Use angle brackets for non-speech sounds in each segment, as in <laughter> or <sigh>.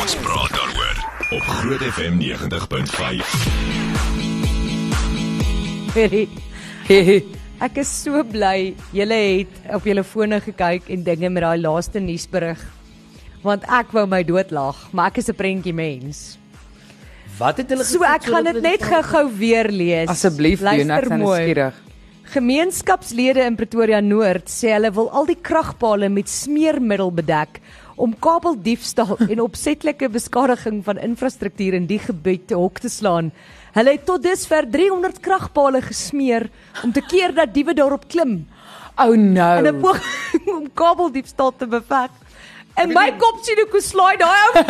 Ons praat daaroor op Groot FM 90.5. Ferry. Ek is so bly julle het op julle fone gekyk en dinge met daai laaste nuusberig. Want ek wou my doodlag, maar ek is 'n prentjie mens. Wat het hulle So ek gaan dit net gou-gou weer lees. Asseblief doen, ek Luister is mooi. nuuskierig. Gemeenskapslede in Pretoria Noord sê hulle wil al die kragpale met smeermiddel bedek om kabeldiefstal <laughs> en opsetlike beskadiging van infrastruktuur in die gebied te hok te slaan. Hulle het tot dusver 300 kragpale gesmeer om te keer dat diewe daarop klim Oh in 'n no. poging om kabeldiefstal te beveg. En my kop sien hoe slaai daai <laughs> ou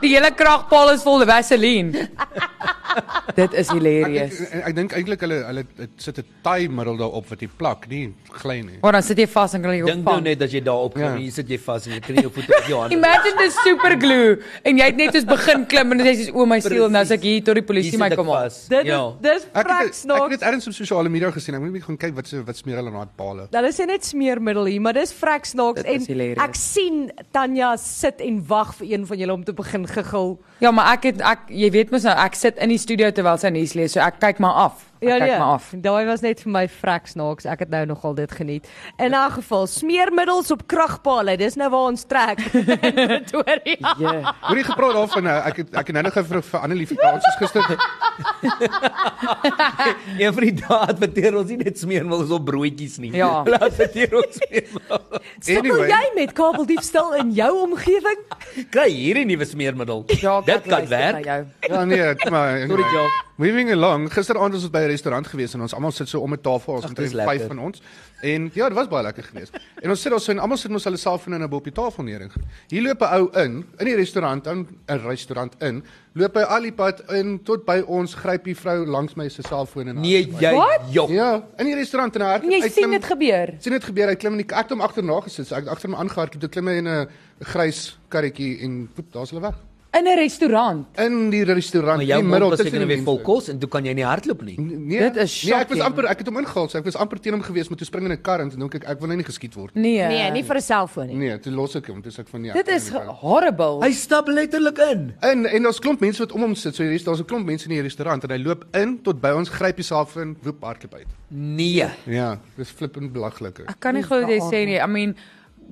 Die hele kragpaal is vol vaseline. Dit is Ek, hilarious. ek, ek dink eintlik hulle hulle het- sit 'n tymiddel daarop wat jy plak, nie gly nie. Want dan sit jy vas en kan jy Dink nou opvang. net dat jy daarop klim, Ja. hier sit jy vas en jy kry jou voete op jou hande. Imagine dis super glue en jy het net soos begin klim en jy sê o my siel nou as ek hier tot die Hier polisie sit my ek kom haal. vas. Dit Ja. is- dis Ek het praks dit- ek het nog. dit ergens op sosiale media gesien. Ek moet net gaan kyk wat se wat smeer hulle aan daai pale. Hulle sê net smeermiddel hier, maar dis vrek snaaks Dit en is hilarious. ek sien Tanya sit en wag vir een van julle om te begin gegil. Ja, maar ek het ek jy weet mos nou ek sit in die studio terwyl sy nuus lees, so ek kyk maar af. Ja, Ek kyk maar af. nee. Daai was net vir my vrek snaaks. Ek het nou nogal dit geniet. In 'n geval, smeermiddels op kragpale, dis nou waar ons trek <laughs> in Pretoria. Ja. Hoor jy gepraat daarvan? nou, Ek het, ek het nou nog vir vir Annelie vakansies gister. Een van die dae adverteer ons nie net smeermiddels op broodjies nie. Ja. Hulle adverteer ons smeermiddels. Sukkel jy met kabeldiefstal in jou <laughs> omgewing? Kry hierdie nuwe smeermiddel. Ja, ek dit kan luister na werk. jou. Ja nee, kom maar. Sorry, anyway. Jo. Moving along. Gisteraand was ons by 'n restaurant gewees en ons almal sit so om 'n tafel, ons Ag, het dis vyf lekker. van ons. En ja, dit was baie lekker geweest. En ons sit daar so en almal sit mos hulle selfone nou bo op die tafel neer. en goed. Hier loop 'n ou in, in die restaurant, in 'n restaurant in. Loop hy al die pad in tot by ons, gryp die vrou langs my se selfoon en Nee, jy jok. Ja, in die restaurant en hy hardloop. En Nee, jy hy sien klim- dit gebeur. sien dit gebeur. Hy klim in die ek het hom agterna gesit. So ek het agter hom aangehardloop. Toe klim hy in 'n grys karretjie en poep, daar's hulle weg. In 'n restaurant. In die restaurant, Maar in jou die middel mond was tussen seker die weer vol mense. kos en toe kan jy nie hardloop nie. Nee. Dit is nee, ek was shocking. amper ek het hom ingehaal. So ek was amper teen hom gewees, maar toe spring hy in 'n kar en toe dink ek ek wil nou nie geskiet word. Nee. vir 'n selfoon Nee, toe los ek hom. Toe sê ek van nee. ek Dit wil is nie gaan. horrible. Hy stap letterlik in. En en daar's klomp mense wat om hom sit. So hier is daar's 'n klomp mense in die restaurant en hy loop in tot by ons, gryp homself in, woep hardloop uit. Nee. Ja, dis flippend belaglik. Ek kan nie glo dit sê nie. I mean,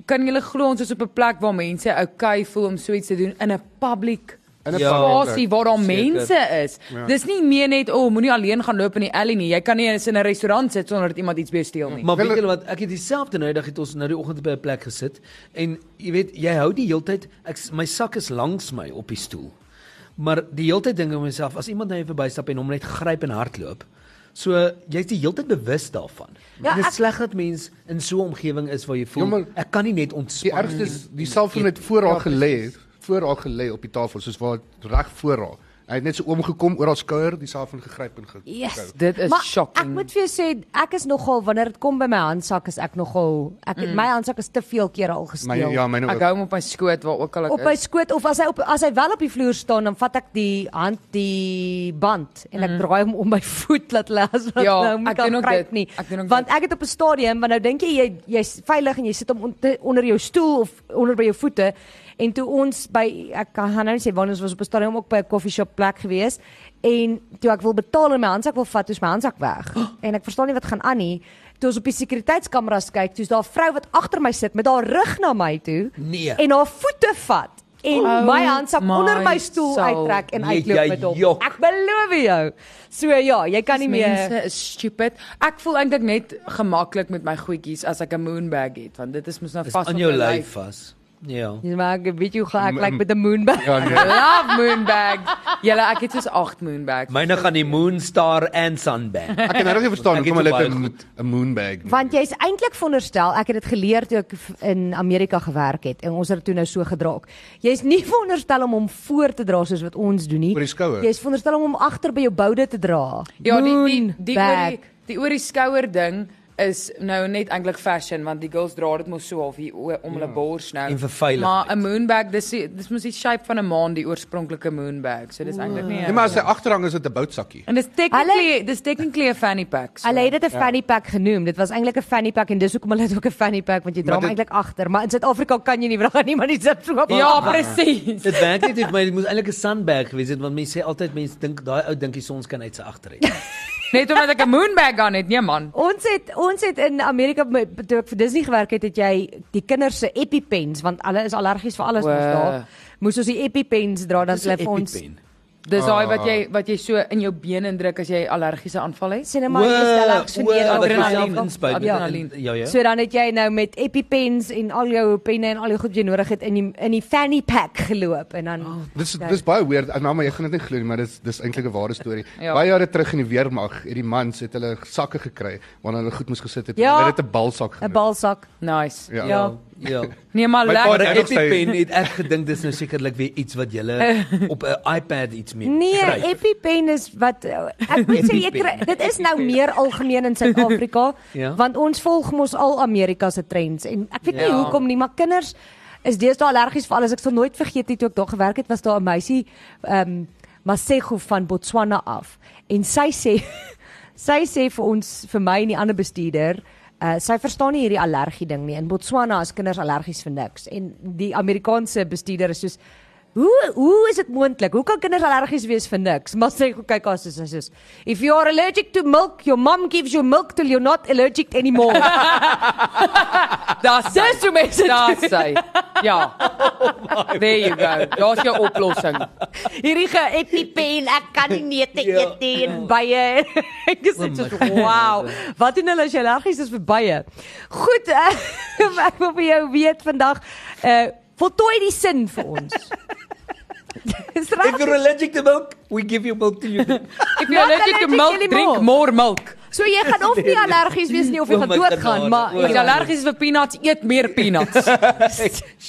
kan julle glo ons is op 'n plek waar mense okay voel om so iets te doen in 'n public In 'n Ja. public plek. spasie waar daar Seker. mense is. Ja. Dis nie meer net o, oh, moenie alleen gaan loop in die alley nie. Jy kan nie eens in 'n restaurant sit sonder dat iemand iets by jou steel nie. Maar Wel, weet julle wat, ek het dieselfde nou dag het ons nou die oggend by 'n plek gesit en jy weet, jy hou die heeltyd ek s- my sak is langs my op die stoel. Maar die heeltyd dink ek myself as iemand nou verbystap en hom net gryp en hardloop. So jy's die heeltyd bewus daarvan. Ja, Ja, dit ek- is sleg dat mens in so 'n omgewing is waar jy voel Ja, maar- ek kan nie net ontspan. Die ergste is die selfoon het voor haar gelê, voor haar gelê op die tafel, soos waar reg voor haar. Hy het net so oomgekom oor haar skouer, die selfoon gegryp en gekou. Yes. Dit is maar Ek shocking. moet vir jou sê ek is nogal wanneer dit kom by my handsak is ek nogal ek Mm. het, my handsak is te veel kere al gesteel. My ja, myne Ek ook. hou hom op my skoot waar ook al ek op my is. skoot of as hy op as hy wel op die vloer staan dan vat ek die hand die band en ek draai hom om my voet dat hulle as wat Mhm. Ja, nou ek moet kan doen ook gryp dit. nie. Ek doen ook Want ek het op 'n stadium want nou dink jy jy jy's veilig en jy sit hom on, te- onder jou stoel of onder by jou voete en toe ons by ek kan gaan nou nie sê wanneer ons was op 'n stadium ook by 'n koffieshop plek gewees en toe ek wil betaal en my handsak wil vat, toe is my handsak weg. en ek verstaan nie wat gaan aan nie. Toe ons op die sekuriteitskameras kyk, toe's daar 'n vrou wat agter my sit met haar rug na my toe Nee. en haar voete vat en oh, Oh my handsak my onder my stoel soul. uittrek en Nee, uitloop jy met hom. jok. Ek beloof jou. So ja, jy kan nie meer Mense is stupid. Ek voel eintlik net gemaklik met my goedjies as ek 'n moonbag het, want dit is mos nou is vas aan op jou my lyf vas. Ja. Jy maak 'n bietjie gek lyk met 'n moonbag. <laughs> Ja, nee. Love moonbags. Julle, ek het soos 8 moonbags. Myne gaan die Moon Star and Sunband. Ek kan nou nie verstaan Ek het hoekom hulle ook dit baie 'n- 'n moonbag nie. Want jy's eintlik veronderstel, ek het dit geleer toe ek v- in Amerika gewerk het en ons het dit toe nou so gedraak. Jy's nie <laughs> veronderstel om hom voor te dra soos wat ons doen nie. Oor die skouer. Jy's veronderstel om hom agter by jou boude te dra. Ja, die die die oor Moonbag. die, die oor die skouer ding is nou net eintlik fashion want die girls dra dit mos so half hier o- om hulle Ja. bors nou. En vir veiligheid. Maar 'n moonbag dis die- dis mos die shape van 'n maan die oorspronklike moonbag. So dis eintlik nie. Nee, maar as hy agterhang is dit 'n boutsakkie. en dis technically dis technically 'n fanny pack. So. Hulle het dit 'n Ja. fanny pack genoem. Dit was eintlik 'n fanny pack en dis hoekom hulle dit ook 'n fanny pack want jy dra Maar hom dit- eintlik agter. Maar in Suid-Afrika kan jy nie, want dan gaan niemand die zips op. Ja, presies. Dit werk net vir my, dit moes eintlik 'n sandbag gewees het want mense sê altyd mense dink daai ou dink die son skyn uit sy agteruit. Net omdat ek 'n moonbag aan het. Nee man. Ons het ons het in Amerika met- toe ek vir Disney gewerk het, het jy die kinders se EpiPens want hulle is allergies vir alles mos Wow. daar. Moes ons die EpiPens dra dat Dis 'n hulle vir ons EpiPen. Ah. Dis daai wat jy wat jy so in jou been indruk as jy 'n allergiese aanval het. sê net maar is Wow, hulle geksponeer wow, wat jy adrenalien. self inspuit met- Adrenalien. Ja ja. So dan het jy nou met EpiPens en al jou penne en al die goed wat jy nodig het in die in die fanny pack geloop en dan oh. Dis dis baie weird. En nou maar jy gaan dit nie glo nie, maar dis dis eintlik 'n ware storie. Ja. Baie jare terug in die weermag het die mans het hulle sakke gekry waarna hulle goed moes gesit het. Ja. Hulle het 'n balsak 'n genoem. balsak. Nice. Ja. Ja. Ja. Nee maar My Maar vader- lekker. 'n nog steeds- EpiPen het ek gedink dis nou sekerlik weer iets <laughs> wat jy op 'n iPad iets mee Nee, skryf. EpiPen is wat eh, ek moet sê jy kry, dit is nou meer algemeen in Suid-Afrika Ja. want ons volg mos al Amerika se trends en ek weet nie Ja. hoekom nie, maar kinders is deesdae allergies vir alles. Ek sal nooit vergeet nie toe ek daar gewerk het was daar 'n meisie ehm um, Masego van Botswana af en sy sê <laughs> sy sê vir ons vir my en die ander bestuurder Uh, sy verstaan nie hierdie allergie ding nie. In Botswana is kinders allergies vir niks en die Amerikaanse bestuurder is soos Hoe hoe is dit moontlik? Hoe kan kinders allergies wees vir niks? Maar sê gou kyk as is is. If you are allergic to milk, your mom gives you milk till you're not allergic anymore. Daar's Dis hoe mense Daar's hy. <laughs> Ja. Oh There you go. Daar's jou oplossing. hierdie ge-EpiPen, ek kan nie neute Ja. eet nie en bye. <laughs> Ek is net so wow. Wat doen hulle as jy allergies is vir bye? Goed, eh, <laughs> ek wil vir jou weet vandag uh voltooi die sin vir ons. <laughs> Dis If reg. you're allergic to milk, we give you milk to you. <laughs> If you're allergic to milk, drink more milk. So jy gaan of Nee, nie allergies wees nie of jy Oh gaan my doodgaan, genade. maar Oh. As jy allergies is vir peanuts, eet meer <laughs> peanuts.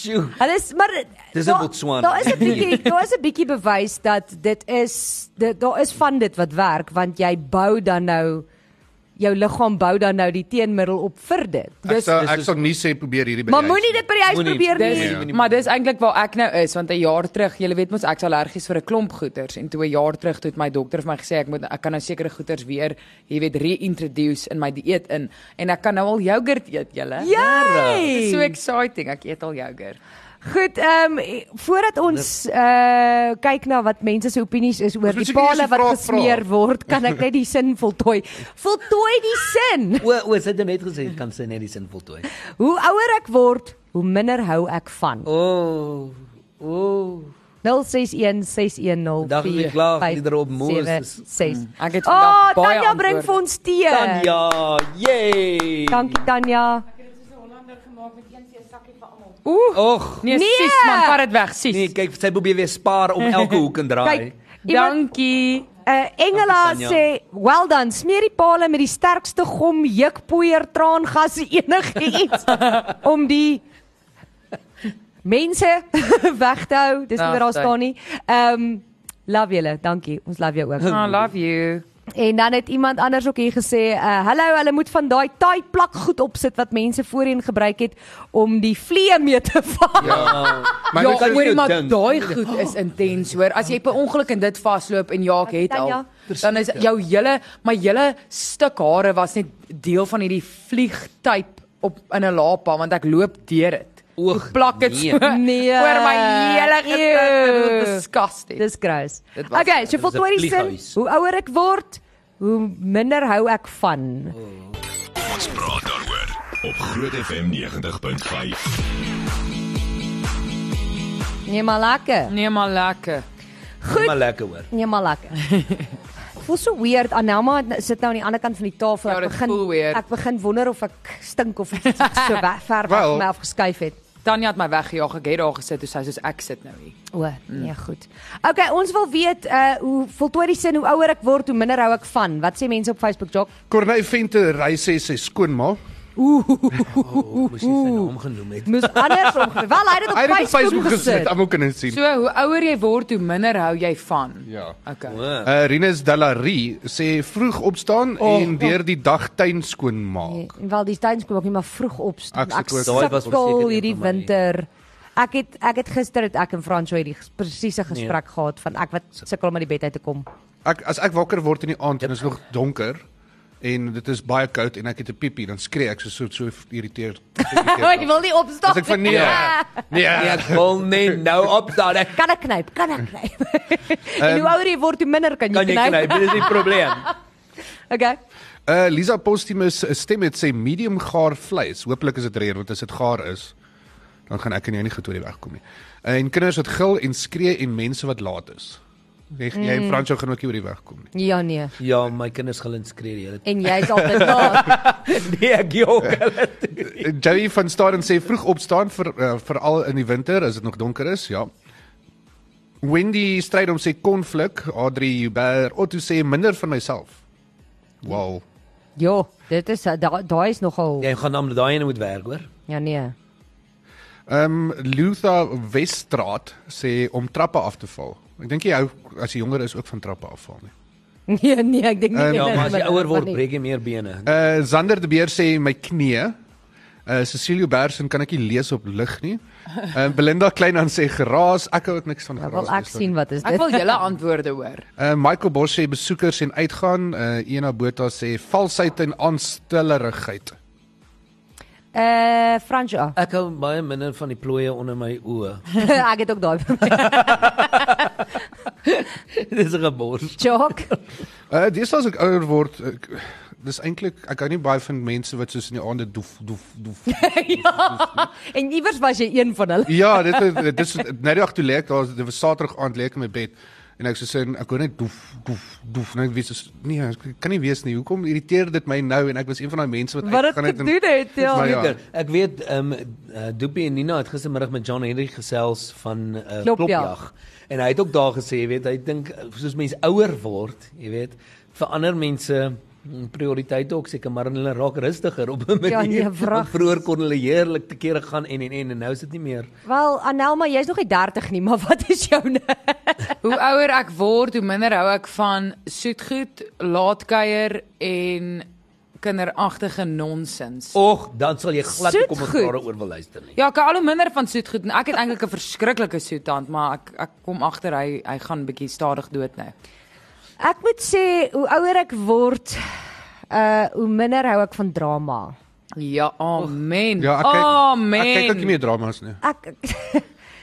Sjoe. Hulle is maar Dis daar- in Botswana. Daar is 'n Nee. bietjie daar is 'n bietjie bewys dat dit is dit daar is van dit wat werk want jy bou dan nou jou liggaam bou dan nou die teenmiddel op vir dit. Ek sou dis ek is- sou nie sê probeer hierdie by Maar die moenie dit by die huis Moenie. probeer nie. Nee. Dis, maar dis eintlik waar ek nou is want 'n jaar terug, julle weet mos ek's allergies vir 'n klomp goeters en toe 'n jaar terug toe het my dokter vir my gesê ek moet ek kan nou sekere goeters weer, jy weet, reintroduce in my dieet in en ek kan nou al jogurt eet, julle. Dis Jy. So exciting. Ek eet al jogurt. Goed, ehm voordat ons uh kyk na wat mense se opinies is oor Ons die moet seker eers pale die wat vraag gesmeer vra. word, kan ek net die sin <laughs> voltooi. Voltooi die sin. O, o, sy het nou net gesê kan sy net die sin voltooi. Hoe ouer ek word, hoe minder hou ek van. O. Oh, o. Oh. 061 610 Vandag is die klaag liedere op Moses. 6. Mm. Ek het Ah, vandag baie Tanya bring antwoorde. vir ons tee. Tanya, yay. Dankie Tanya. Ooh. Och. Nee, Nee. sis man, vat dit weg, sis. Nee, kyk, sy probeer weer spaar <laughs> om elke hoek en draai. Kyk, iemand Dankie. Uh, Engela Dankie, Tanya. sê, "Well done, smeer die pale met die sterkste gom, jeukpoeier, traangas, <laughs> enige iets om die mense <laughs> weg te hou." Dis nie Ah, wat daar sorry. staan nie. Ehm um, love julle, dankie. Ons love jou ook. I love you. En dan het iemand anders ook hier gesê, uh, "Hallo, hulle moet van daai taai plak goed opsit wat mense voorheen gebruik het om die vlee mee te <laughs> vang." Ja. <laughs> Maar ja, dit is- hoor jy, maar ding. daai goed is intens hoor. As jy per ongeluk in dit vasloop en ja, ek het al, Dan dan is jou hele my hele stuk hare was net deel van hierdie vliegtyp op in 'n laapa want ek loop deur dit. Oog, Ek Plak dit nee. so Nee. <laughs> oor my hele Ew. gesig. Disgusting. Dis gross. Ja. Dit was- Okay, so is voltooi een die sin, vlieghuis. hoe ouer ek word, hoe minder hou ek van. Ons praat daaroor op Groot FM 90.5. Nee maar lekker. Nee maar lekker. Goed. Maar lekker hoor. Nee maar <laughs> lekker. Ek Voel so weird. Anelma het nou- sit nou aan die ander kant van die tafel. Ja, Ek dit begin voel weird. ek begin wonder of ek stink of iets so weg, ver weg Wel. van my afgeskuif het. Tanya het my weggejaag. Ek het daar gesit toe sy soos ek sit nou hier. O, Mm. nee, goed. Okay, ons wil weet uh hoe voltooi die sin hoe ouer ek word, hoe minder hou ek van. Wat sê mense op Facebook, Jock? Corneille Venter, hy sê sy skoonma. O, moes jy sy naam genoem het. Moes anders omgewe. <laughs> Wel, hy het dit op Hy het dit op Facebook Facebook gesit. gesit, almal kan dit sien. So hoe ouer jy word, hoe minder hou jy van. Ja. Okay. Wow. Uh, Rinus Dallary sê vroeg opstaan oh, en deur die dag tuin skoonmaak. Nee, en wel die tuin skoon ook nie maar vroeg opstaan. Ek sit Ek ook- Daai was verseker sukkel een hierdie van my- winter. Ek het ek het gister het ek en Franco hierdie ges- presiese gesprek gehad van ek wat sukkel om uit die bed uit te kom. Ek as ek wakker word in die aand en dit is nog donker en dit is baie koud en ek het 'n piepie, dan skree ek so so, so irriteerd. Jy wil nie opstaan. As Ja. ek van nee. Nee. Ja. Nee, ek wil nie nou opstaan <laughs> ek Kan ek knyp? Kan ek knyp? en hoe ouer jy word, hoe minder kan jy kan nie kry, knyp. dit is die probleem. <laughs> Okay. Uh Lisa Postumus stem het sê medium gaar vleis. Hooplik is dit rare want as dit gaar is, dan gaan ek en jy nie goed oor die weg kom nie. Eh, En kinders wat gil en skree en mense wat laat is. Jy jy en Franco gaan ook nie oor die weg kom nie. Ja nee. Ja, my kinders gaan inskree die <laughs> hele tyd. En jy's altyd laat. Nee, ek jok. Jerry van Staden sê vroeg opstaan vir uh, veral in die winter as dit nog donker is, ja. Wendy stryd om sê konflik, Adri Huber, Otto sê minder van myself. Wow. Ja, dit is da- daai is nogal Jy gaan naamlik daai een moet werk, hoor. Ja nee. <laughs> Ehm um, Luther Weststraat sê om trappe af te val. Ek dink jy hou as jy jonger is ook van trappe afval nie. Nee nee, ek dink nie. Ehm, Ja, kinders maar as jy minder ouer van word, nie. breek jy meer bene. Uh Zander de Beer sê my knie. Uh Cecilio Bersen kan ek nie lees op lig nie. Ehm uh, Belinda Kleinhan sê geraas, ek hou ook niks van Ja, geraas. Wel nie, ek sorry. sien wat is Ek dit. wil julle antwoorde hoor. Uh, Michael Bos sê besoekers en uitgaan. Uh, Ena Botha sê valsheid en aanstellerigheid. <laughs> Eh Franco. Ek hou baie minder van die plooie onder my oë. <laughs> <laughs> ek het ook daai <laughs> Dis 'n gebors. joke. Uh dis as ek ouer word, ek, dis eintlik ek hou nie baie van mense wat soos in die aande doef doef doef. En iewers was jy een van hulle. ja, dit is dit is nou die dag toe lê ek daar dit was Saterdag aand lê ek in my bed en ek sê so, sin, ek hoor net doef doef doef en ek weet soos nee, ek kan nie weet nie. Hoekom irriteer dit my nou en ek was een van daai mense wat Wat dit uitgegaan en- gedoen het, ja. Maar Ja. Ek weet ehm um, uh, Doopie en Nina het gistermiddag met John Henry gesels van uh, Klopjag. klopjag. En hy het ook daar gesê, jy weet, hy dink uh, soos mense ouer word, jy weet, vir ander mense mm, prioriteite ook seker maar en hulle raak rustiger op 'n manier. <laughs> Ja, nee, Want wragtig. Vroeër kon hulle heerlik te kere gaan en en en en nou is dit nie meer. Wel, Anelma, jy's nog nie 30 nie, <laughs> maar wat is jou nou? Hoe ouer ek word, hoe minder hou ek van soetgoed, laatkuier en kinderagtige nonsens. Och, dan sal jy glad nie Soet kommentaar goed. oor wil luister nie. Ja, ek hou al hoe minder van soetgoed en ek het eintlik 'n verskriklike soettand, maar ek ek kom agter hy hy gaan bietjie stadig dood nou. Ek moet sê, hoe ouer ek word, uh hoe minder hou ek van drama. Ja, amen. Ja, ek kyk, amen. ek kyk ook nie meer dramas nie. Ek <laughs>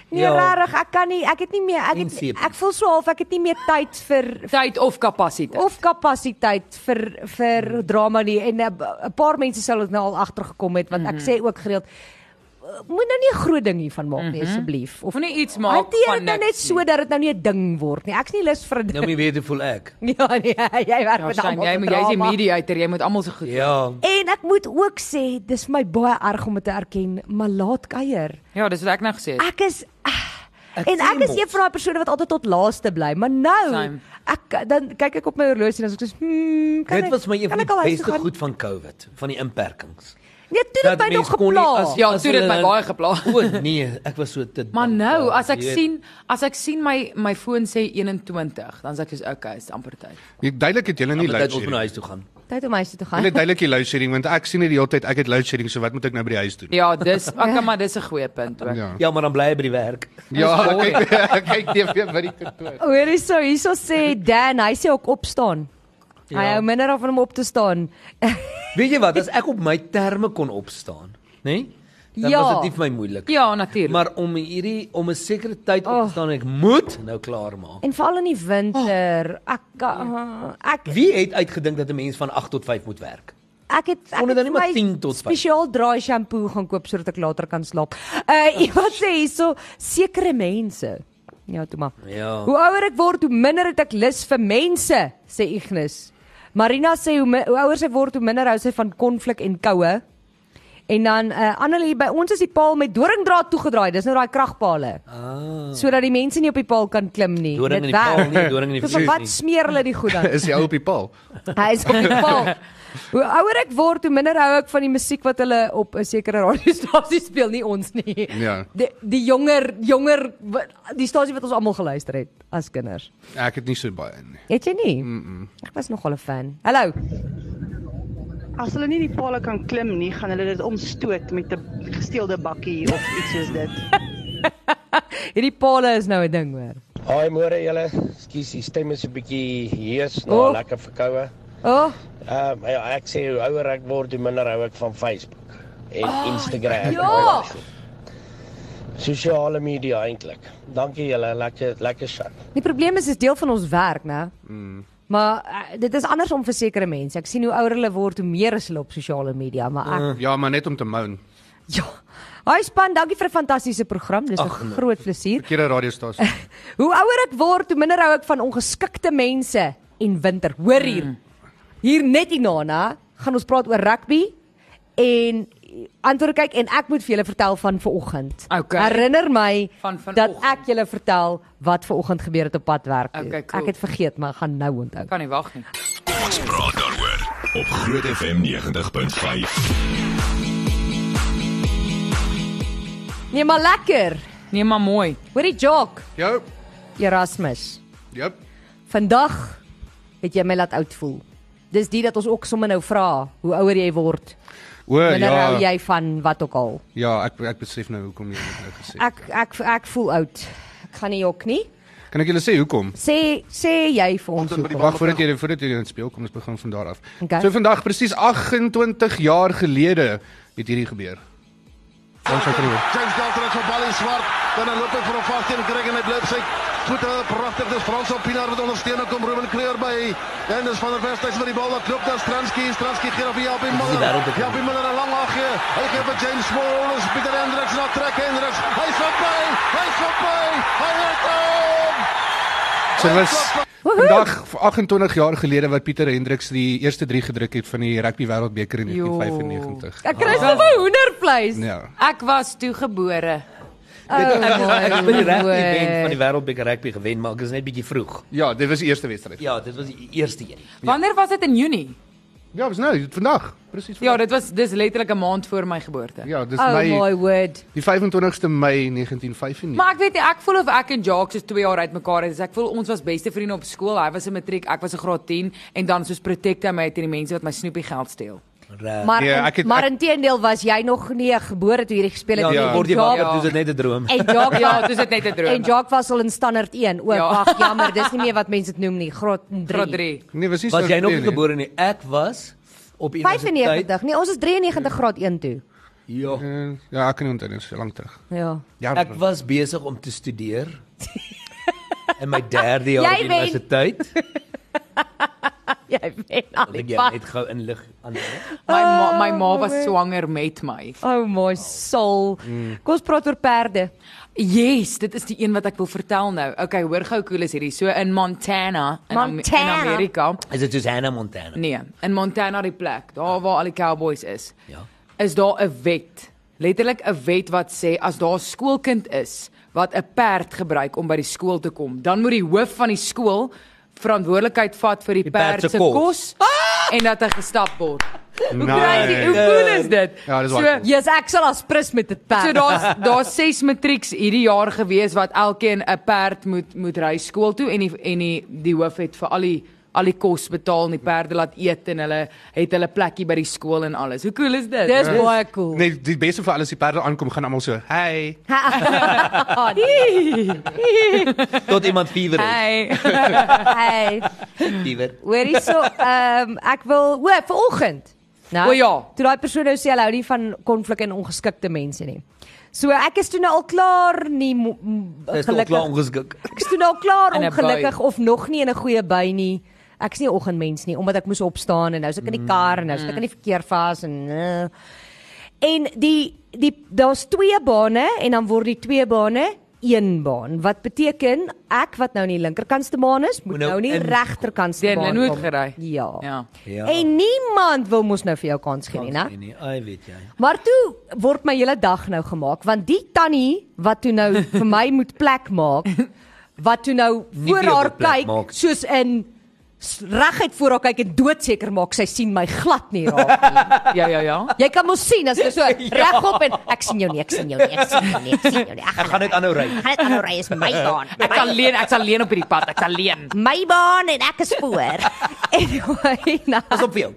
Nee, ja. Ja. rarig, ek kan nie, ek het nie meer ek En het, seepie. ek voel so half ek het nie meer tyd vir tyd of kapasiteit. of kapasiteit vir vir drama nie en eh, b- 'n paar mense sal dit nou al agtergekom het want ek sê ook gereeld eh, moet nou nie 'n groot ding hiervan maak nie asseblief of Of nie iets maak hanteer dit van nou net niks so dat dit nou nie 'n ding word nie. Ek's nie lus vir 'n ding. Nou moet jy weet hoe voel ek. <laughs> Ja nee, jy werk Ja, met Shan, almal. jy se moet jy's die drama. mediator, jy moet almal se goed. Ja. En ek moet ook sê, dis my baie erg om dit te erken, maar laat kuier. Ja, dis wat ek nou gesê het. Ek is Ek Ek en ek sien is mos. een van daai persone wat altyd tot laaste bly, maar nou Same. ek dan kyk ek op my horlosie en dan is ek soos hmm, kan Dit ek- was my kan een van ek al die huis toe beste gaan? goed van COVID, van die inperkings. Nee, toe het my nog mens kon nie geplaas. Ja, toe dit hulle my dan- baie geplaas. <laughs> O nee, ek was so te Ja, Maar nou, as ek Jy weet, sien, as ek sien my my foon sê 21, dan sê ek soos okay, is amper tyd. Jy duidelik het julle nie dan load moet ek op my shedding. huis toe gaan. Tyd om huis toe te Hulle gaan. het duidelik die load shedding want ek sien dit die hele tyd. Ek het load shedding, so wat moet ek nou by die huis doen? Ja, dis okay, maar dis 'n goeie punt ook. Ja. Ja, maar dan bly jy by die werk. Ja, kyk <laughs> kyk TV by die kantoor. nou- <laughs> Hoor hier so, hierso sê Dan, hy sê ook opstaan. Ja. Hy hou minder af van om op te staan. Weet jy wat, as ek op my terme kon opstaan, nê? Nee, dan Ja. was dit nie vir my moeilik. Ja, natuurlik. Maar om hierdie om 'n sekere tyd op te staan, ek moet nou klaar maak. En veral in die winter, ek ka- ek Wie het uitgedink dat 'n mens van 8 tot 5 moet werk? Ek het ek Kon het dit dan nie maar vir my 10 tot 5? spesiaal draai shampoo gaan koop sodat ek later kan slaap. Uh <laughs> iemand sê hierso sekere mense. Ja, toe maar. Ja. Hoe ouer ek word, hoe minder het ek lus vir mense, sê Ignis. Marina sê hoe, mi- hoe ouer sy word, hoe minder hou sy van konflik en koue. En dan eh Annelie, by ons is die paal met doringdraad toegedraai. Dis nou daai kragpale. Ah. Sodat die mense nie op die paal kan klim nie. Doring in Dit die paal werk. nie, doring in <laughs> die So, vuur Wat nie. smeer hulle die goed dan? Is jy op die paal? Hy is op die paal. Hoe ouer ek word, hoe minder hou ek van die musiek wat hulle op 'n sekere radiostasie speel, nie ons nie. Ja. Die, die jonger jonger die stasie wat ons almal geluister het as kinders. Ek het nie so baie in nie. Het jy nie? Mm -mm. Ek was nogal 'n fan. Hallo. As hulle nie die palle kan klim nie, gaan hulle dit omstoot met 'n gesteelde bakkie of iets soos dit. Hierdie pale is nou 'n ding hoor. Haai môre julle. Ekskuus, die stem is 'n bietjie hees na Oh. oh. lekker verkoue. O, oh, Ehm uh, ek sê hoe ouer ek word, hoe minder hou ek van Facebook en oh, Instagram. ja. Sosiale media eintlik. Dankie julle, lekker lekker show. die probleem is is deel van ons werk, né? Mm. Maar uh, dit is anders om vir sekere mense. Ek sien hoe ouer hulle word, hoe meer is hulle op sosiale media, maar ek Ja, maar net om te moan. ja. Hi span, dankie vir 'n fantastiese program. Dis 'n groot plesier. Verkeerde radiostasie. Hoe ouer ek word, hoe minder hou ek van ongeskikte mense en winter. Hoor hier. Mm. Hier net hierna gaan ons praat oor rugby en antwoord kyk en ek moet vir julle vertel van vanoggend. Okay. Herinner my Van dat vanoggend. ek julle vertel wat vanoggend gebeur het op pad werk. toe. Okay, cool. Ek het vergeet, maar ek gaan nou onthou. Kan nie wag nie. Ons praat daaroor op Groot FM 90.5. Nee, maar lekker. Nee, maar mooi. Hoorie Jock, Jou. Erasmus. Jep. Vandag het jy my laat oud voel. Dis dit dat ons ook sommer nou vra, hoe ouer jy word, O minder ja. hou ja. jy van wat ook al. Ja, ek ek besef nou hoekom jy dit nou gesê het. Ek ek ek voel oud. Ek gaan nie jok nie. Kan ek julle sê hoekom? Sê sê jy vir ons hoekom? Wag voordat jy voordat jy dit speel, kom ons begin van daar af. Okay. So vandag presies 28 jaar gelede het hierdie gebeur. Ons sal kry. James Dalton is op bal in swart. Dan loop hy vir hom vas teen Greg en hy blip sy voete pragtig. Dis Frans op Pinaar wat ondersteun en kom Ruben Kreer by. En dis van der Westhuys wat die bal wat klop daar Stranski. Stranski gee op Ja, Japie Miller. Japie Miller 'n lang haggie. Hy gee vir James Moore. Ons Pieter Hendriks na trek Hendriks. Hy is verby. Hy is verby. Hy het hom. So dit was vandag 28 jaar gelede wat Pieter Hendriks die eerste 3 gedruk het van die Rugby Wêreldbeker in Jo. 1995. Ek kry sommer hoendervleis. Oh, Ja. Ek was toe gebore. Ek het by die rugby word. wen van die wêreldbeker rugby gewen, maar ek is net bietjie vroeg. Ja, dit was die eerste wedstryd. Ja, dit was die eerste een. Wanneer was dit in Junie? Ja, was nou vandag. Presies. Ja, vandag. dit was dis letterlik 'n maand voor my geboorte. Ja, dis Oh my my word. die 25ste Mei 1995. Maar ek weet nie, ek voel of ek en Jacques is 2 jaar uitmekaar is. Ek voel ons was beste vriende op skool. Hy was 'n matriek, ek was 'n graad 10 en dan soos protect hy my teen die mense wat my snoepie geld steel. Maar Nee, in- ek het- maar ek- inteendeel was jy nog nie gebore toe hierdie gespeel het Ja, nie. ja. En word jy Jock- wakker, dis dit net 'n droom. En Jock Ja, ja, dis dit net 'n droom. en Jock was al in standaard 1. O, Ja. wag, jammer, dis nie meer wat mense dit noem nie. Graad 3. Graad 3. nee, was nie Was jy nog nie nee. gebore nie? Ek was op universiteit. 95. Nee, ons is 93 graad 1 toe. Ja. Eh, Ja, ek kan nie onthou nie, so lank terug. Ja. Ja. Ek was besig om te studeer. In my derde jaar Jy op wen. universiteit, Jy weet al Laat die ek jy pad. net gou inlig aan hulle. My ma, my ma was swanger met my. Oh my soul. Mm. Kom ons praat oor perde. Yes, dit is die een wat ek wil vertel nou. Okay, hoor gou hoe cool is hierdie. So in Montana in, Am- Montana. in Amerika. Is dit soos Hannah Montana? Nee, in Montana die plek, daar waar al die cowboys is. Ja. Is daar 'n wet? Letterlik 'n wet wat sê as daar 'n skoolkind is wat 'n perd gebruik om by die skool te kom, dan moet die hoof van die skool verantwoordelikheid vat vir die, Die perd perd se se kos. kos en dat hy gestap word. Crazy, hoe Nee. cool is dit? Ja, dis so, waar. Yes, ek sal as prins met dit So perd. daar's daar's ses matrieks hierdie jaar gewees wat elkeen 'n perd moet moet ry skool toe en die, en die, die hoof het vir al die al die kos betaal en die perde laat eet en hulle het hulle plekkie by die skool en alles. Hoe cool is dit? Ja. Dis baie cool. Nee, die beste vir alles die perde aankom gaan almal so, "Hey." <laughs> Tot iemand fever het. Hey. Hey, Fever. hoorie so, ehm um, ek wil o, vanoggend. Nou. O, ja. Toe daai persoon nou sê hulle hou nie van konflik en ongeskikte mense nie. So ek is toe nou al klaar nie mo- m- Dis nog gelukkig. klaar ongeskik. Ek is toe nou al klaar In 'n ongelukkig of nog nie in 'n goeie by nie. Ek is nie 'n oggendmens nie omdat ek moes opstaan en nou is ek in die kar en nou is ek in die verkeer vas en uh. en die die daar's twee bane en dan word die twee bane een baan wat beteken ek wat nou nie linkerkantste baan is moet Moet nou nou nie in- regterkantste Teen baan Lynnwood kom. gery. Ja. Ja. Ja. En niemand wil mos nou vir jou kans gee nie, né? Nee, nee, ai weet jy. Maar toe word my hele dag nou gemaak want die tannie wat toe <laughs> nou vir my moet plek maak wat toe nou Nie voor weer haar wil plek kyk maak. soos in s- reguit voor haar kyk en doodseker maak sy sien my glad nie <laughs> raak nie. Ja ja ja. Jy kan mos sien as jy Ja. so regop en ek sien jou nie, ek sien jou nie, ek sien jou nie, ek sien jou nie. Ek Ek gaan net aanhou ry. gaan dit aanhou ry is <laughs> my baan. Ek sal leen, ek sal leen op hierdie pad, ek sal leen. My baan en ek is <laughs> voor. Anyway, nou. Pas op vir jou.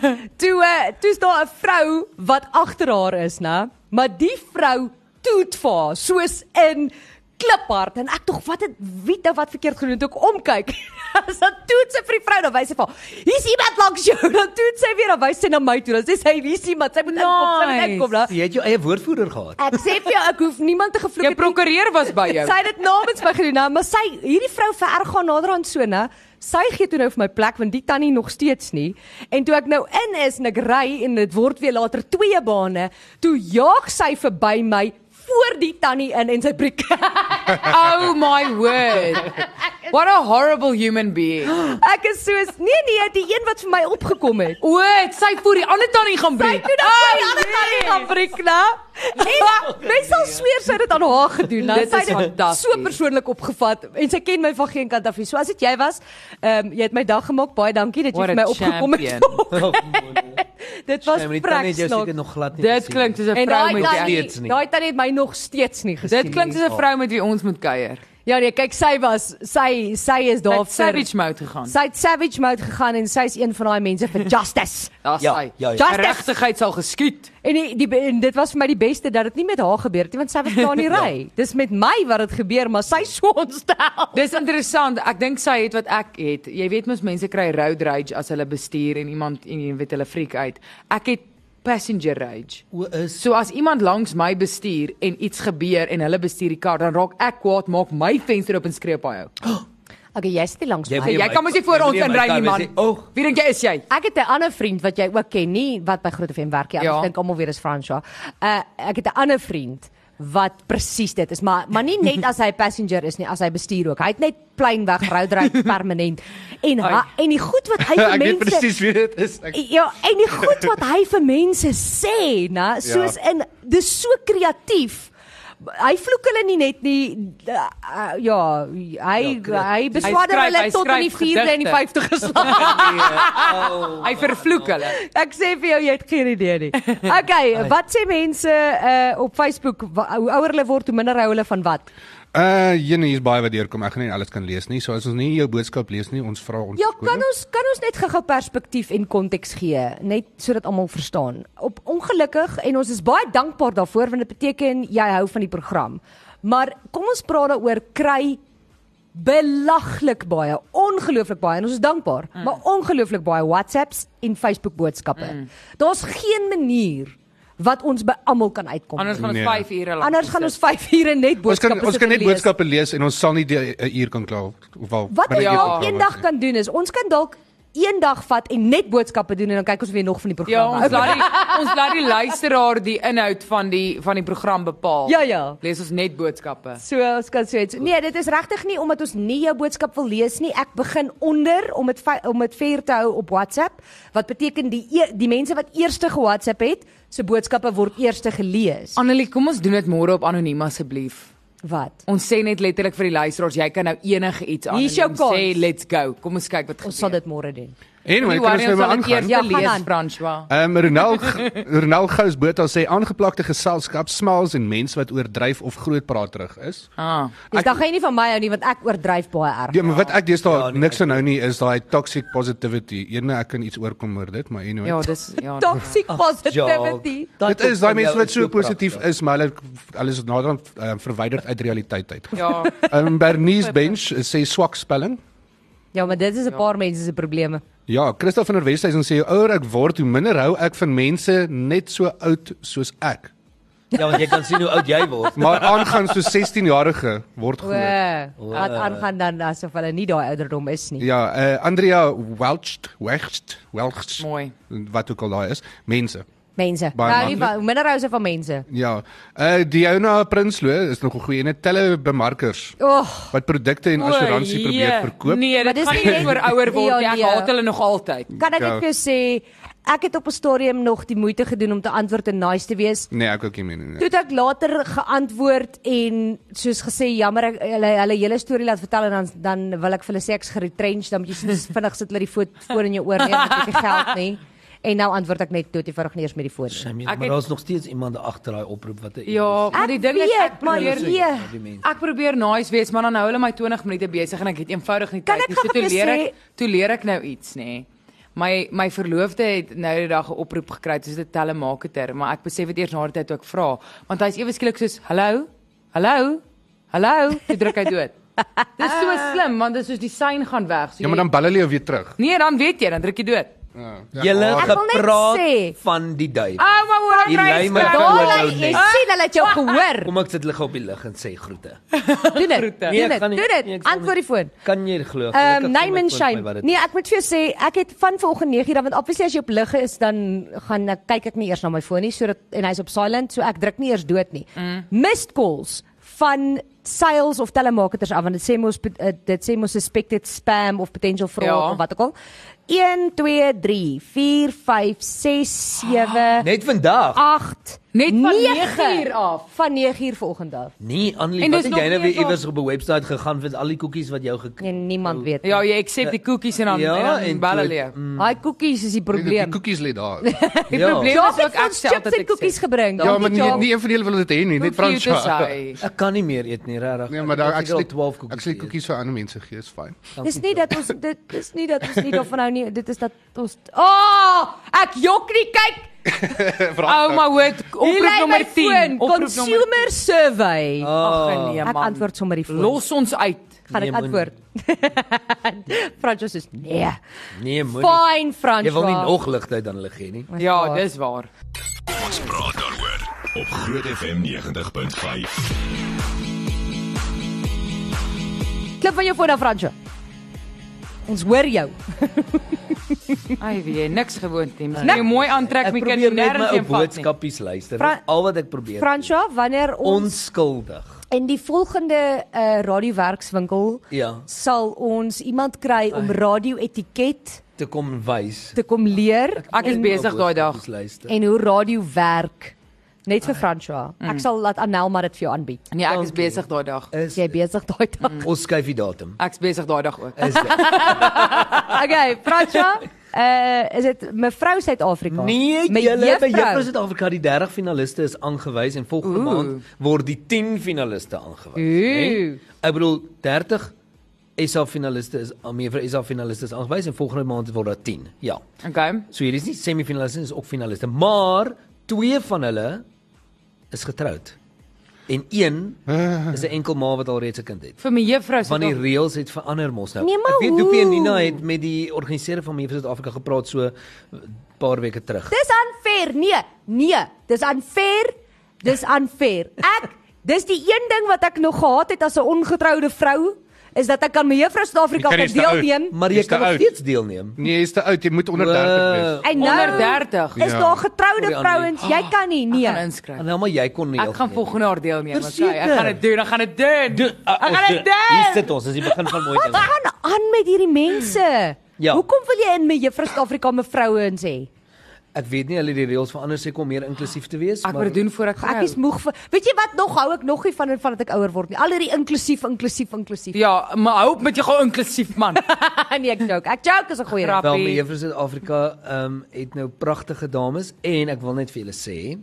Toe eh, toe's daar 'n vrou wat agter haar is, né? Maar die vrou toet vir haar soos in kliphard en ek tog wat het wie nou wat verkeerd gedoen het ook omkyk. <laughs> As dan toet sy vir die vrou dan wys sy vir haar, hier's iemand langs jou. <laughs> Dan toet sy weer dan wys sy na my toe. Dan sê sy hier's iemand. Sy moet inkom, sy moet Nice. inkom, né? Jy het jou eie woordvoerder <laughs> gehad. Ek sê vir jou ek hoef niemand te gevloek Jou het nie. prokureur was by jou. <laughs> Sy het dit namens my gedoen, nou, maar sy hierdie vrou vererg gaan nader aan so, né? Sy gee toe nou vir my plek want die tannie nog steeds nie. En toe ek nou in is en ek ry en dit word weer later twee bane, toe jaag sy verby my voor die tannie in en sy breek. Oh my word. What a horrible human <laughs> being. <gasps> ek is soos nee nee, die een wat vir my opgekom het. O, het sy voor die ander tannie gaan Sy breek. toe nou vir die ander tannie gaan breek, né? En mens sal sweer sy het dit aan haar gedoen, né? Dit Sy is het dit fantasties. so persoonlik opgevat en sy ken my van geen kant af nie. So as dit jy was, ehm um, jy het my dag gemaak. Baie dankie dat jy What vir a my opgekom champion. het. <laughs> dit was Sy moet net jy prakties. seker nog glad nie. Dit gesien. klink soos 'n En vrou daai met jy- tannie, wie. steeds nie. daai tannie het my nog steeds nie gesien. Dit klink nie. soos 'n vrou met wie ons moet kuier. Ja nee, kyk sy was sy sy is daar Daar vir savage mode gegaan. Sy het savage mode gegaan en sy is een van daai mense vir justice. Daar's Ja, sy. ja, ja. Geregtigheid sal geskied. En die, die en dit was vir my die beste dat dit nie met haar gebeur het nie want sy was klaar <laughs> in die ry. Dis met my wat dit gebeur, maar sy so Oh. ontstel. Dis interessant. Ek dink sy het wat ek het. Jy weet mos mense kry road rage as hulle bestuur en iemand en jy weet hulle freak uit. Ek het passenger rage. O, is So as iemand langs my bestuur en iets gebeur en hulle bestuur die kar, dan raak ek kwaad, maak my venster oop en skree op hy. Okay, jy's te langs Oh, Jy my. weet- Jy kan mos nie voor Jy ons moet nie inry my nie, kar man. wees nie. O. Wie dink jy is jy? Ek het 'n ander vriend wat jy ook ken nie wat by Groot FM werk nie. Ja. Ja. Ek dink almal weer is François. Uh ek het 'n ander vriend wat presies dit is, maar maar nie net <laughs> as hy passenger is nie, as hy bestuur ook. Hy het net plain weg road <laughs> rage permanent. En ha, en die goed wat hy <laughs> vir Ek weet mense presies wie dit is. <laughs> Ek Ja, en die goed wat hy vir mense sê, na, soos Ja. ja. in dis so kreatief. Hy vloek hulle nie net nie uh, uh, ja, hy ja, hy beswaarder Hy skryf- hulle hy tot in die skryf 4de en die gedigte. <laughs> 50 geslag. Oh. Hy vervloek hulle. Ek sê vir jou jy het geen idee <laughs> nie. Okay, wat sê mense uh, op Facebook Wa- hoe ouer hulle word, hoe minder hou hulle van wat? Uh, jene hier's baie wat deurkom. Ek gaan nie alles kan lees nie. So as ons nie jou boodskap lees nie, ons vra ons Ja, kan ons kan ons net gou-gou perspektief en konteks gee, net sodat almal verstaan. Op ongelukkig en ons is baie dankbaar daarvoor want dit beteken jy hou van die program. Maar kom ons praat daaroor kry belaglik baie, ongelooflik baie en ons is dankbaar, Mm. maar ongelooflik baie WhatsApps en Facebook boodskappe. Mm. Daar's geen manier wat ons by almal kan uitkom. Anders Anders, gaan ons Nee. 5 ure lank. Anders gaan ons 5 ure net Ons kan boodskappe ons kan sit en net lees. boodskappe lees en ons sal nie die 'n uur kan klaar of wel Wat binne ons een uur dalk klaar eendag word nie. kan doen is ons kan dalk eendag vat en net boodskappe doen en dan kyk ons weer nog van die Ja, program. ons laat die ons laat die luisteraar die inhoud van die van die program bepaal. <laughs> Ja, ja. Lees ons net boodskappe. So ons kan so iets. Nee, dit is regtig nie omdat ons nie jou boodskap wil lees nie. Ek begin onder om dit fi- om dit fair te hou op WhatsApp, wat beteken die e die mense wat eerste ge-WhatsApp het, se boodskappe word eerste gelees. Annelie, kom ons doen dit môre op anoniem asseblief. Wat? Ons sê net letterlik vir die luisteraars, jy kan nou enige iets Hier aan is jou sê kans. let's go. Kom ons kyk wat gebeur. Ons sal dit môre doen. Anyway, kan ons nou maar aangaan. Ja, Ja, gaan lees aan. François. Ehm um, Ronald Ronald Gous Botha sê aangeplakte geselskap smaals en mense wat oordryf of grootpraterig is. Ah. Dis dan gaan jy nie van my hou nie want ek oordryf baie erg. Ja, maar wat ek deesdae ja, niks aan hou nie is daai toxic positivity. Eene ek kan iets oorkom oor dit, maar anyway. Ja, dis ja. Toxic <laughs> positivity. Dit is daai mense wat so positief ja. is, maar hulle hulle is nader uh, verwyderd uit realiteit uit. Ja. Ehm um, Bernice Bench sê swak spelling. Ja, maar dit is 'n paar mense se probleme. Ja, Christof van der Westhuizen sê hoe ouer ek word, hoe minder hou ek van mense net so oud soos ek. Ja, want jy kan sien hoe oud jy <laughs> word. Maar aangaan so 16-jarige word O, groot. wat aangaan dan asof hulle nie daai ouderdom is nie. Ja, eh uh, Andrea Welcht, Welcht, Welcht. Mooi. Wat ook al daai is, mense. Mense. Baie Nou, nie maklik. van- minder house van mense. Ja. Eh uh, Diona Prinsloo is nog 'n goeie en telle bemarkers Oeg. wat produkte en assuransie probeer jee. verkoop. Nee, Maar dit dis gaan nie net- nie oor ouer word nie. Ek Ja, nee. haat hulle nog altyd. Kan ek Ja. net vir jou sê ek het op 'n stadium nog die moeite gedoen om te antwoord en nice te Ja. wees. Nee, ek ook nie meer nie. nee. Toe het ek later geantwoord en soos gesê jammer ek hulle hulle hele storie laat vertel en dan dan wil ek vir hulle sê ek's geretrench dan moet jy sien <laughs> vinnig sit hulle die voet voor in jou oor nee want ek het nie geld nie. En nou antwoord ek net toe die vinnig nie eers met die voet. nie. Ek meen, Ek maar het- daar's nog steeds iemand agter daai oproep wat 'n Ja, maar die ding is ek weet, maar probeer nee. die mense. Ek probeer nice wees, maar dan hou hulle my 20 minute besig en ek het eenvoudig nie Kan tyd ek nie. gou So toe vir jou leer ek, sê- toe leer ek nou iets, nê. My my verloofde het nou die dag 'n oproep gekry, dis 'n telemarketer, maar ek besef dit eers na die tyd toe ek vra, want hy's ewe skielik soos, "Hallo? Hallo? Hallo?" Toe druk hy <laughs> dood. Dis so slim, want dis soos die sein gaan weg. So Ja, maar dan bel hulle jou weer terug. Nee, dan weet jy, dan druk jy dood. Ja. Julle Ek wil net sê- gepraat van die duiwel. Oh my word, Die lyn met Christus. Daar Daai jy sien hulle het jou gehoor. Kom ek sit lig op die lig en sê groete. Doen dit. Groete. Nee, Doen ek dit. gaan nie. Doen Nee, ek dit. sal nie. Antwoord die foon. Kan jy glo? Ehm Gelukkig Name and iemand shame. vind my wat dit- Nee, ek moet vir jou sê, ek het van vanoggend 9:00 want obviously as jy op lig is dan gaan ek kyk ek nie eers na my foon nie sodat en hy's op silent, so ek druk nie eers dood nie. Mm. Missed calls van sales of telemarketers af want dit sê mos eh, dit sê mos suspected spam of potential fraud Ja. ja. of wat ook al. 1 2 3 4 5 6 7 Ah, Net Ah. vandag. 8 Net van 9uur af. Van 9:00 vanoggend af. Nee, Annelie, En wat dis het nog jy nou nie weer eens iewers op 'n webwerf gegaan met al die koekies wat jou gekry Nee, niemand weet. nie. Ja, jy accept die koekies en dan Ja, en dan en bel toe- hulle. jou. Daai koekies is die Nee, Die probleem. koekies lê daar. Die Ja. probleem Jaap is ook het ek ons sê nee, chips altyd en koekies gebring. Ja, maar nie, Dankie, nie een van julle wil dit hê nie, net Franswa. <laughs> Ek kan nie meer eet nie, regtig. Nee, maar daar Ek ek het al sleep 12 koekies. Ek sleep geëet. koekies vir ander mense gee, is fyn. Dis nie dat ons dit dis nie dat ons nie daarvan hou nie. Dit is dat ons O, Ah, oh, ek jok nie <laughs> kyk. Oh my word, Hier oproep lê my nommer 10, foon, oproep nommer Consumer survey. Ag nee Ek man. antwoord sommer die foon. Los ons uit. gaan Nee, ek moenie. antwoord. <laughs> Francois is nee. Nee, moenie. Fine Francois. Jy wil nie nog ligtheid aan hulle gee nie. Ja, dis waar. Ons praat daaroor op Groot FM 90.5. klip van jou foon af Francois. Ons hoor jou. Ai wie, niks gewoond nie. Moet jy mooi aantrek, Ek my kind probeer net my nêrens ou heen vat nie. boodskappies luister. Fra- Dis al wat ek probeer. Francois, wanneer ons Onskuldig. in die volgende uh, radiowerkswinkel Ja. sal ons iemand kry om radio-etiket Te kom wys. te kom leer Ek is en- besig daai dag. Boodskappies Luister. en hoe radio werk. Net vir François. Ek sal laat Anelma dit vir jou aanbied. Nee, ek is besig daai dag. Is Jy besig daai dag. ons skuif die datum. Ek's besig daai dag ook. Is dit? Okay, François, uh is dit mevrou Suid-Afrika? Nee, Me julle by juffrou. Juffrou Suid-Afrika die 30 finaliste is aangewys en volgende Ooh. Ooh. maand word die 10 finaliste aangewys. Ooh. né? Ek bedoel 30 SA finaliste is ah, meer vir SA finaliste is aangewys en volgende maand word daar 10. Ja. Okay. So hier is nie semifinaliste is ook finaliste, maar twee van hulle is getroud. En een is 'n enkel ma wat alreeds 'n kind het. Vir my juffrou se Want die dag. reëls het verander mos nou. Nee, maar Ek weet Doopie en hoe? Nina het met die organiseerder van Mevrou Suid-Afrika gepraat so 'n paar weke terug. Dis unfair. Nee, nee, dis unfair. Dis unfair. Ek dis die een ding wat ek nog gehad het as 'n ongetroude vrou is dat ek aan my juffrou Suid-Afrika Jy kan kan nie staan uit. deelneem. Maar jy Dis te kan nog oud. steeds deelneem. Nee, jy's te oud, jy moet onder 30 wees. En nou Onder Ah. 30. is Ja. daar getroude Sorry, Annelie. vrouens. Jy kan nie Ek nee. gaan En inskryf. nou maar jy kon nie. Ek gaan volgende jaar deelneem, okay. Ek Verseker. gaan dit doen, ek gaan dit doen. Ek gaan dit Hier doen. sit ons, dis die begin van mooi Wat dinge. gaan aan met hierdie mense? Ja. Hoekom wil jy in my juffrou Suid-Afrika mevrouens hê? Ek weet nie hulle het die reëls verander sê kom meer inklusief te wees, Ek moet dit doen voor ek Ek is gaan. moeg vir Weet jy wat nog hou ek nog nie van van dat ek ouer word nie. Al hierdie inklusief inklusief inklusief. Ja, maar hou op met jou gou inklusief man. <laughs> nee, ek joke. Ek joke is 'n goeie grap. Grap. Wel, Happy. mevrou Suid-Afrika ehm um, het nou pragtige dames en ek wil net vir julle sê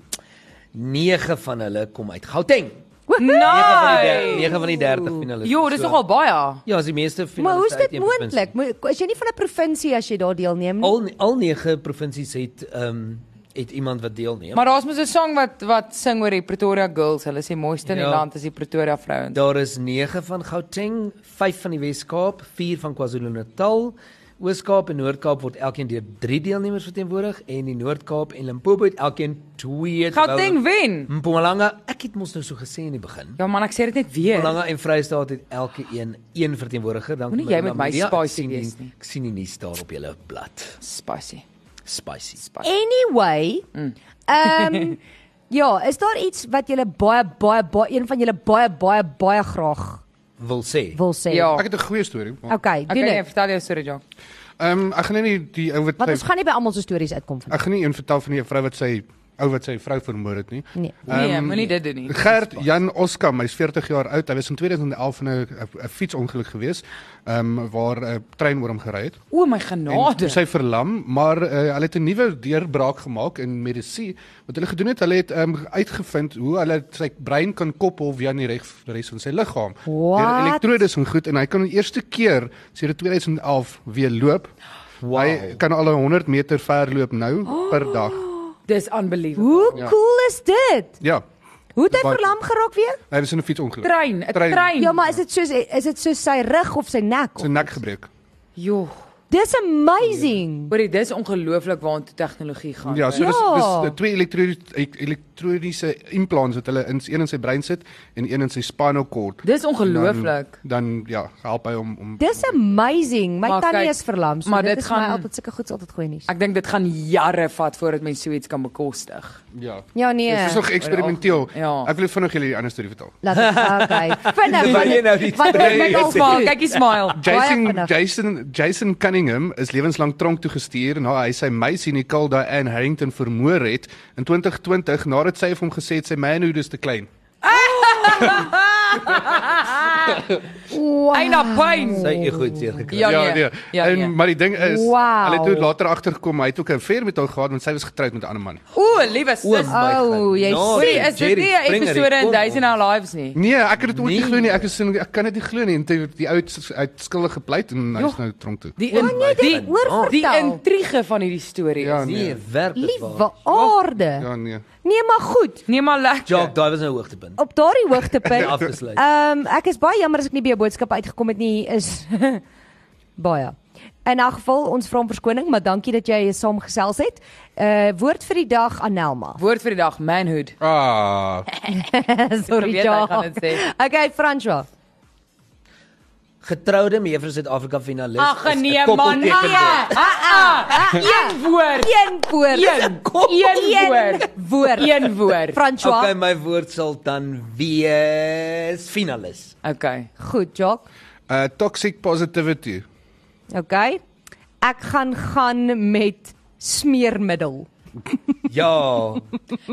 9 van hulle kom uit Gauteng. 9 van die der- Nee. 9 van die 30 finaliste. Jo, dis nogal baie. Ja, is die meeste finaliste. Maar hoe is uit dit een provinsie. moontlik? Mo- Is jy nie van 'n provinsie as jy daar deelneem Hm? nie? Al al 9 provinsies het ehm um, het iemand wat deelneem. Maar daar's mos 'n song wat wat sing oor die Pretoria Girls. Hulle sê mooiste in die Ja. land is die Pretoria vrouens. Daar is 9 van Gauteng, 5 van die Wes-Kaap, 4 van KwaZulu-Natal. Oos-Kaap en Noord-Kaap word elkeen deur 3 deelnemers verteenwoordig en die Noord-Kaap en Limpopo het elkeen 2. Gauteng wen. Mm. Mpumalanga, ek het mos nou so gesê in die begin. Ja man, ek sê dit net weer. Mpumalanga en Vrystaat het elke een een verteenwoordiger. Dan Moenie kom jy ek met na my media. Ek spicy sien die- wees nie. Ek sien die nuus daar op julle blad. Spicy. Spicy. Anyway, ehm ja, is daar iets wat julle baie baie baie een van julle baie baie baie graag Wil sê. wil sê? Ja. Ek het 'n goeie storie. maar- Eh, Okay, Okay, doen nee, dit. vertel jou storie, Jock. Ehm ek gaan nie die, die ou wat Want sy ons gaan nie by almal se stories uitkom van. ek gaan nie een vertel van die vrou wat sy ou wat sy vrou vermoor het nie. Nee. Nee, Ehm, moenie dit doen <laughs> nie. Gert Jan Oskam, hy's 40 jaar oud. Hy was in 2011 in 'n 'n- 'n fietsongeluk gewees, ehm waar 'n trein oor hom gery het. O my En genade. toe sy verlam, maar uh, hulle het 'n nuwe deurbraak gemaak in medisyne. Wat hulle gedoen het, hulle het um, uitgevind hoe hulle sy brein kan koppel via die reg res van sy liggaam. What? Deur elektrodes en goed en hy kan die eerste keer sedert 2011 weer loop. Wow. Hy kan al 100 meter ver loop nou oh. per dag. Dis unbelievable. Hoe Ja. cool is dit? Ja. Hoe het hy Baie- verlam geraak weer? Hy was in 'n fietsongeluk. Trein, 'n Trein. trein. Ja, maar is dit soos is dit soos sy rug of sy nek? Sy nek gebreek. Joh, Dis amazing. hoorie, dis ongelooflik waartoe tegnologie gaan. Ja, so dis Ja. dis die twee elektroniese elektroniese implants wat hulle in een in sy brein sit en een in sy spinal cord. Dis ongelooflik. Dan, dan ja, help hy om om Dis amazing. My Maar tannie kyk, is verlam, so maar dit dit is gaan... gaan- my altyd sulke goeds altyd goeie nuus. Ek dink dit gaan jare vat voordat mens so iets kan bekostig. ja. Ja nee. Dit is nog eksperimenteel. Ja. Ek wil vinnig julle die ander storie vertel. Laat dit gaan, okay. Vinnig. Wil jy nou die want twee ek Kyk met al al smaal, kyk die smile. Jason vinnig. Jason Jason Cunningham is lewenslang tronk toegestuur na hy sy meisie Nicole Diane Harrington vermoor het in 2020 nadat sy vir hom gesê het sy manhood is te klein. Hy na pyn. Sy ego het seer gekry. Ja nee. Ja en nee. maar die ding is, Wow. hulle het toe later agtergekom hy het ook 'n affair met haar gehad want sy was getroud met 'n ander man. O, liewe sis. Oh, jy Hoorie, is dit nie 'n episode in Days in Our Lives nie? Nee, ek het dit ooit nie Nee. glo nie. Ek is in- ek kan dit nie glo nie. En toe- die ou het uit skuldig gepleit en hy's Joh. nou tronk toe. Die in, nee, dit die, hoor die vertel. intrige van hierdie storie. Ja, is- nee. Nee, werklik waar. Liewe aarde. Ja, nee. Nee, maar goed. Nee, maar lekker. Jock, daai was nou hoogtepunt. Op daardie hoogtepunt. Afgesluit. Ehm ek is baie jammer as ek nie by jou boodskappe uitgekom het nie is <laughs> baie. In 'n geval ons vra om verskoning, maar dankie dat jy saamgesels het. Uh woord vir die dag Anelma. Woord vir die dag, manhood. Ah. Sorry Ek weet hy gaan ja. dit sê. Okay, François. Getroude mevrou Suid-Afrika finalis. Ag is 'n nee man. Nee. koppelteken Ah, ah, ah, Een woord. Een woord. Een Een een woord. woord. Een woord. François. Okay, my woord sal dan wees finalis. Okay. Goed, Jock. Uh toxic positivity. Okay. Ek gaan gaan met smeermiddel. Ja.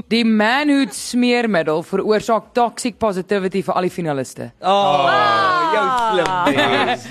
Die manhood smeermiddel veroorsaak toxic positivity vir al die finaliste. Oh, Ah. jou slim. mens.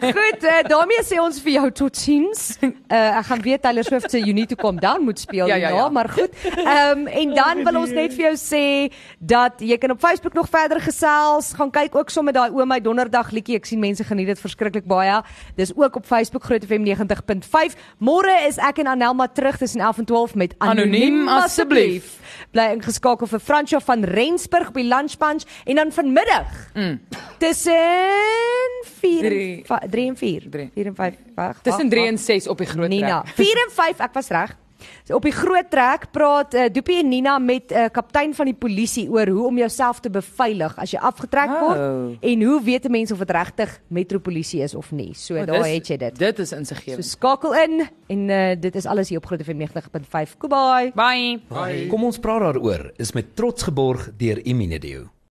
Goed, uh, daarmee sê ons vir jou totsiens. Uh, ek gaan weet Taylor Swift se You Need to Calm Down moet speel Ja, ja, ja, ja, ja. maar goed. Ehm um, en dan wil ons net vir jou sê dat jy kan op Facebook nog verder gesels, gaan kyk ook sommer daai oom my donderdag liedjie. Ek sien mense geniet dit verskriklik baie. Dis ook op Facebook Groot FM 90.5. Môre is ek en Anelma terug tussen 11 en 12 met Anoniem, Anoniem, asseblief. Bly ingeskakel vir Fransjo van Rensburg by Lunch Punch en dan vanmiddag tussen 4 Mm. Drie. en 3 en 4. Drie. 4 en 5. Wag. Tussen wag, 3 wag. en 6 op die groot Nina. trek. 4 en 5, ek was reg. So op die groot trek praat uh, Doopie en Nina met 'n uh, kaptein van die polisie oor hoe om jouself te beveilig as jy afgetrek word Oh. en hoe weet 'n mens of dit regtig metropolisie is of nie. So Oh, daar dis- het jy dit. Dit is So insiggewend. skakel in en uh, dit is alles hier op Groot FM 90.5. Goodbye. Bye. Kom ons praat daaroor. Is met trots geborg deur Imunedio.